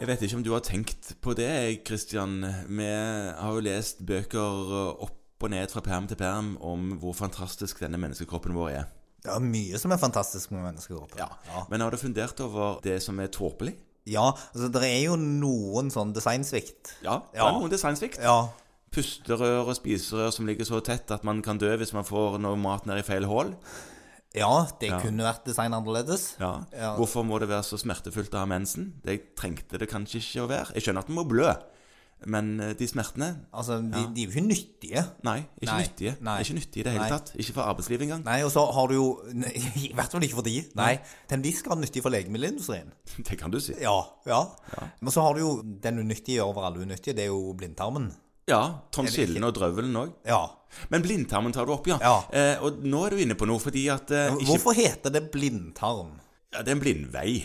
Jeg vet ikke om du har tenkt på det, Kristian. Vi har jo lest bøker eh, opp og ned fra perm til perm om hvor fantastisk denne menneskekroppen vår er. Det er mye som er fantastisk med menneskekroppen. ja. Men har du fundert over det som er tåpelig? Ja, altså det er jo noen sånn designsvikt. Ja, det Ja. er noen designsvikt. Ja. Pusterør og spiserør som ligger så tett at man kan dø hvis man får noe mat ned i feil hull. ja, det kunne vært design annerledes. Ja. Ja. Hvorfor må det være så smertefullt å ha mensen? Det trengte det kanskje ikke å være. Jeg skjønner at man må blø, men eh, de smertene Altså, de, de er jo ikke nyttige. Nei, ikke Nei. nyttige. Nei. Ikke nyttige i det hele Nei. tatt. Ikke for arbeidslivet engang. Nei, og så har du jo nei, I hvert fall ikke for de. Nei. Til en viss grad nyttig for legemiddelindustrien. Det kan du si. Ja, ja. Men så har du jo den unyttige over alle unyttige. Det er jo blindtarmen. Ja, tonsillen og drøvelen òg. Ja. Men blindtarmen tar du opp, ja. Ja. Eh, og nå er du inne på noe, fordi at eh, ikke, Hvorfor heter det blindtarm? ja, Det er en blindvei.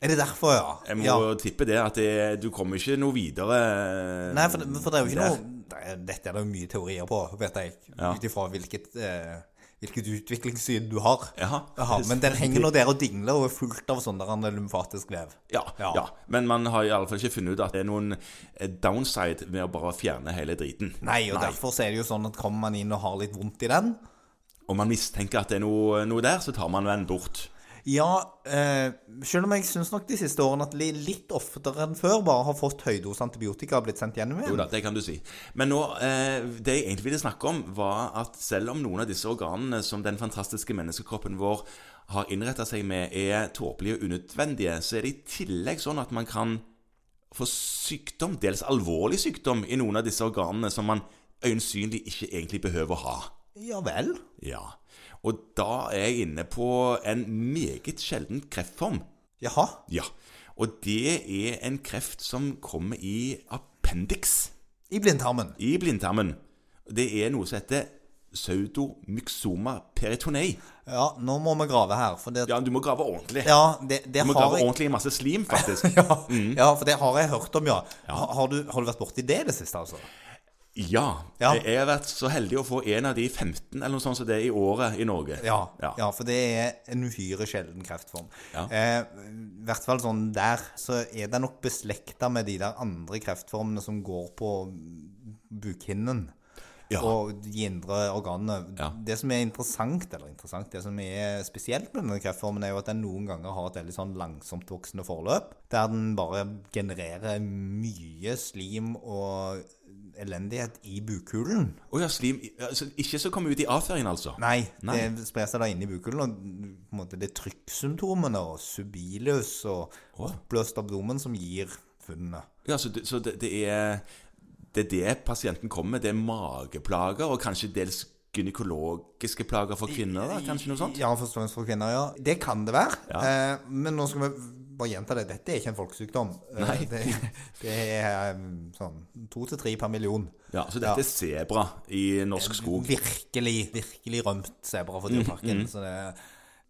Er det derfor, ja? Jeg må ja. tippe det, at det, du kommer ikke noe videre eh, Nei, for, det- for det er jo ikke der. noe det er- Dette er det jo mye teorier på, vet jeg. Ja. Ut ifra hvilket, eh, hvilket utviklingssyn du har. Ja. Jaha, men den henger nå der og dingler og er fullt av sånn der han er lymfatisk vev. ja, ja. Ja. Men man har i alle fall ikke funnet ut at det er noen eh, downside med å bare fjerne hele driten. Nei, og derfor så er det jo sånn at kommer man inn og har litt vondt i den Om man mistenker at det er noe, noe der, så tar man den bort. Ja, eh, selv om jeg syns nok de siste årene at li- litt oftere enn før bare har fått høydose antibiotika og blitt sendt gjennom Jo igjen. da, det kan du si. Men nå, eh, det jeg egentlig ville snakke om, var at selv om noen av disse organene som den fantastiske menneskekroppen vår har innretta seg med, er tåpelige og unødvendige, så er det i tillegg sånn at man kan få sykdom, dels alvorlig sykdom, i noen av disse organene som man øyensynlig ikke egentlig behøver å ha. Ja vel. Ja. Og da er jeg inne på en meget sjelden kreftform. Jaha. Ja. Og det er en kreft som kommer i appendix I blindtarmen. i blindtarmen. Det er noe som heter pseudomyxoma peritonei. Ja, nå må vi grave her, for det Ja, du må grave ordentlig. Ja, det, det Du må har grave jeg ordentlig i masse slim, faktisk. ja, ja, for det har jeg hørt om, ja. Har, har, du, har du vært borti det i det siste, altså? Ja. Ja. Jeg har vært så heldig å få en av de 15 eller noe sånt som det er i året i Norge. Ja, ja. Ja. for det er en uhyre sjelden kreftform. Ja. Eh, I hvert fall sånn der, så er det nok beslekta med de der andre kreftformene som går på bukhinnen. Ja. Og de indre organene. Ja. Det som er interessant, eller interessant, det som er spesielt med denne kreftformen, er jo at den noen ganger har et veldig sånn langsomt voksende forløp, der den bare genererer mye slim og elendighet i bukhulen. Å ja, slim altså, Ikke så komme ut i avføringen, altså. Nei, Nei. det sprer seg da inn i bukhulen, og på en måte det er trykksymptomene og subilus og oppløst abdomen som gir funnene. Ja, så det, så det, det er det er det pasienten kommer med. Det er mageplager, og kanskje dels gynekologiske plager for kvinner. da, Kanskje noe sånt? Ja, forståelse for kvinner, ja. Det kan det være. Ja. Eh, men nå skal vi bare gjenta det. Dette er ikke en folkesykdom. Eh, Nei. Det, det er um, sånn to til tre per million. Ja, Så dette er sebra i norsk skog. Mm-hmm. Virkelig, virkelig rømt sebra for dyreparken. så det-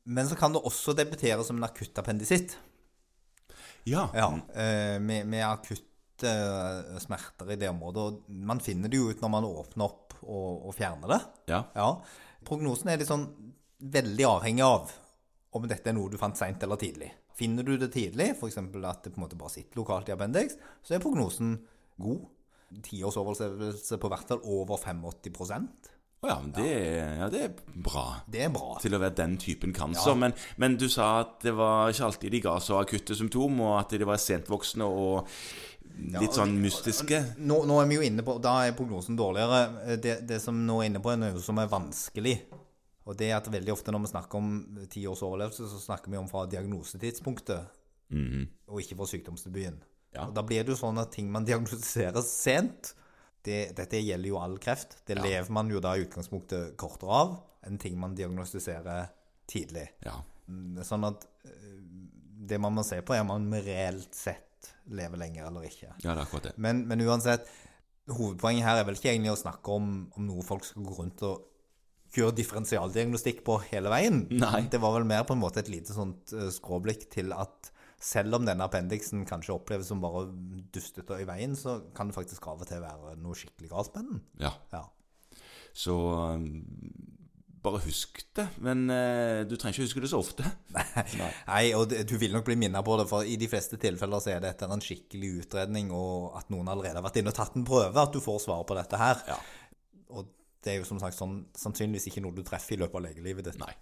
men så kan det også debutere som en akutt appendisitt. Ja. Ja, eh, med, med akutte eh, smerter i det området. Og man finner det jo ut når man åpner opp og, og fjerner det. ja. Ja. Prognosen er litt sånn veldig avhengig av om dette er noe du fant seint eller tidlig. Finner du det tidlig, f.eks. at det på en måte bare sitter lokalt i appendix, så er prognosen god. Tiårsoverlevelse på hvert fall over 85 Å ja, men det, ja, det er bra Det er bra. til å være den typen cancer. Men, men du sa at det var ikke alltid de ga så akutte symptom, og at de var sentvoksne og litt sånn mystiske. Nå, nå er vi jo inne på Da er prognosen dårligere. Eh, Det, det som nå er inne på, er noe som er vanskelig. Og det er at veldig ofte når vi snakker om ti års overlevelse, så snakker vi om fra diagnosetidspunktet, og ikke fra sykdomsdebuten. Ja. Og da blir det jo sånn at ting man diagnostiserer sent det, Dette gjelder jo all kreft. Det lever man jo da i utgangspunktet kortere av enn ting man diagnostiserer tidlig. Ja. Sånn at eh, det man må se på, er om man reelt sett lever lenger eller ikke. ja, det er akkurat det. Men, men uansett, hovedpoenget her er vel ikke egentlig å snakke om, om noe folk skal gå rundt og kjøre differensialdiagnostikk på hele veien. Nei. Det var vel mer på en måte et lite sånt eh, skråblikk til at selv om denne appendiksen kanskje oppleves som bare dustete og i veien, så kan det faktisk av og til være noe skikkelig galt med den. Ja. Ja. Så um, bare husk det. Men eh, du trenger ikke huske det så ofte. Nei, og det- du vil nok bli minnet på det, for i de fleste tilfeller så er det etter en skikkelig utredning, og at noen allerede har vært inne og tatt en prøve, at du får svar på dette her. Ja. Og det er jo som sagt sånn, sannsynligvis ikke noe du treffer i løpet av legelivet ditt. Nei.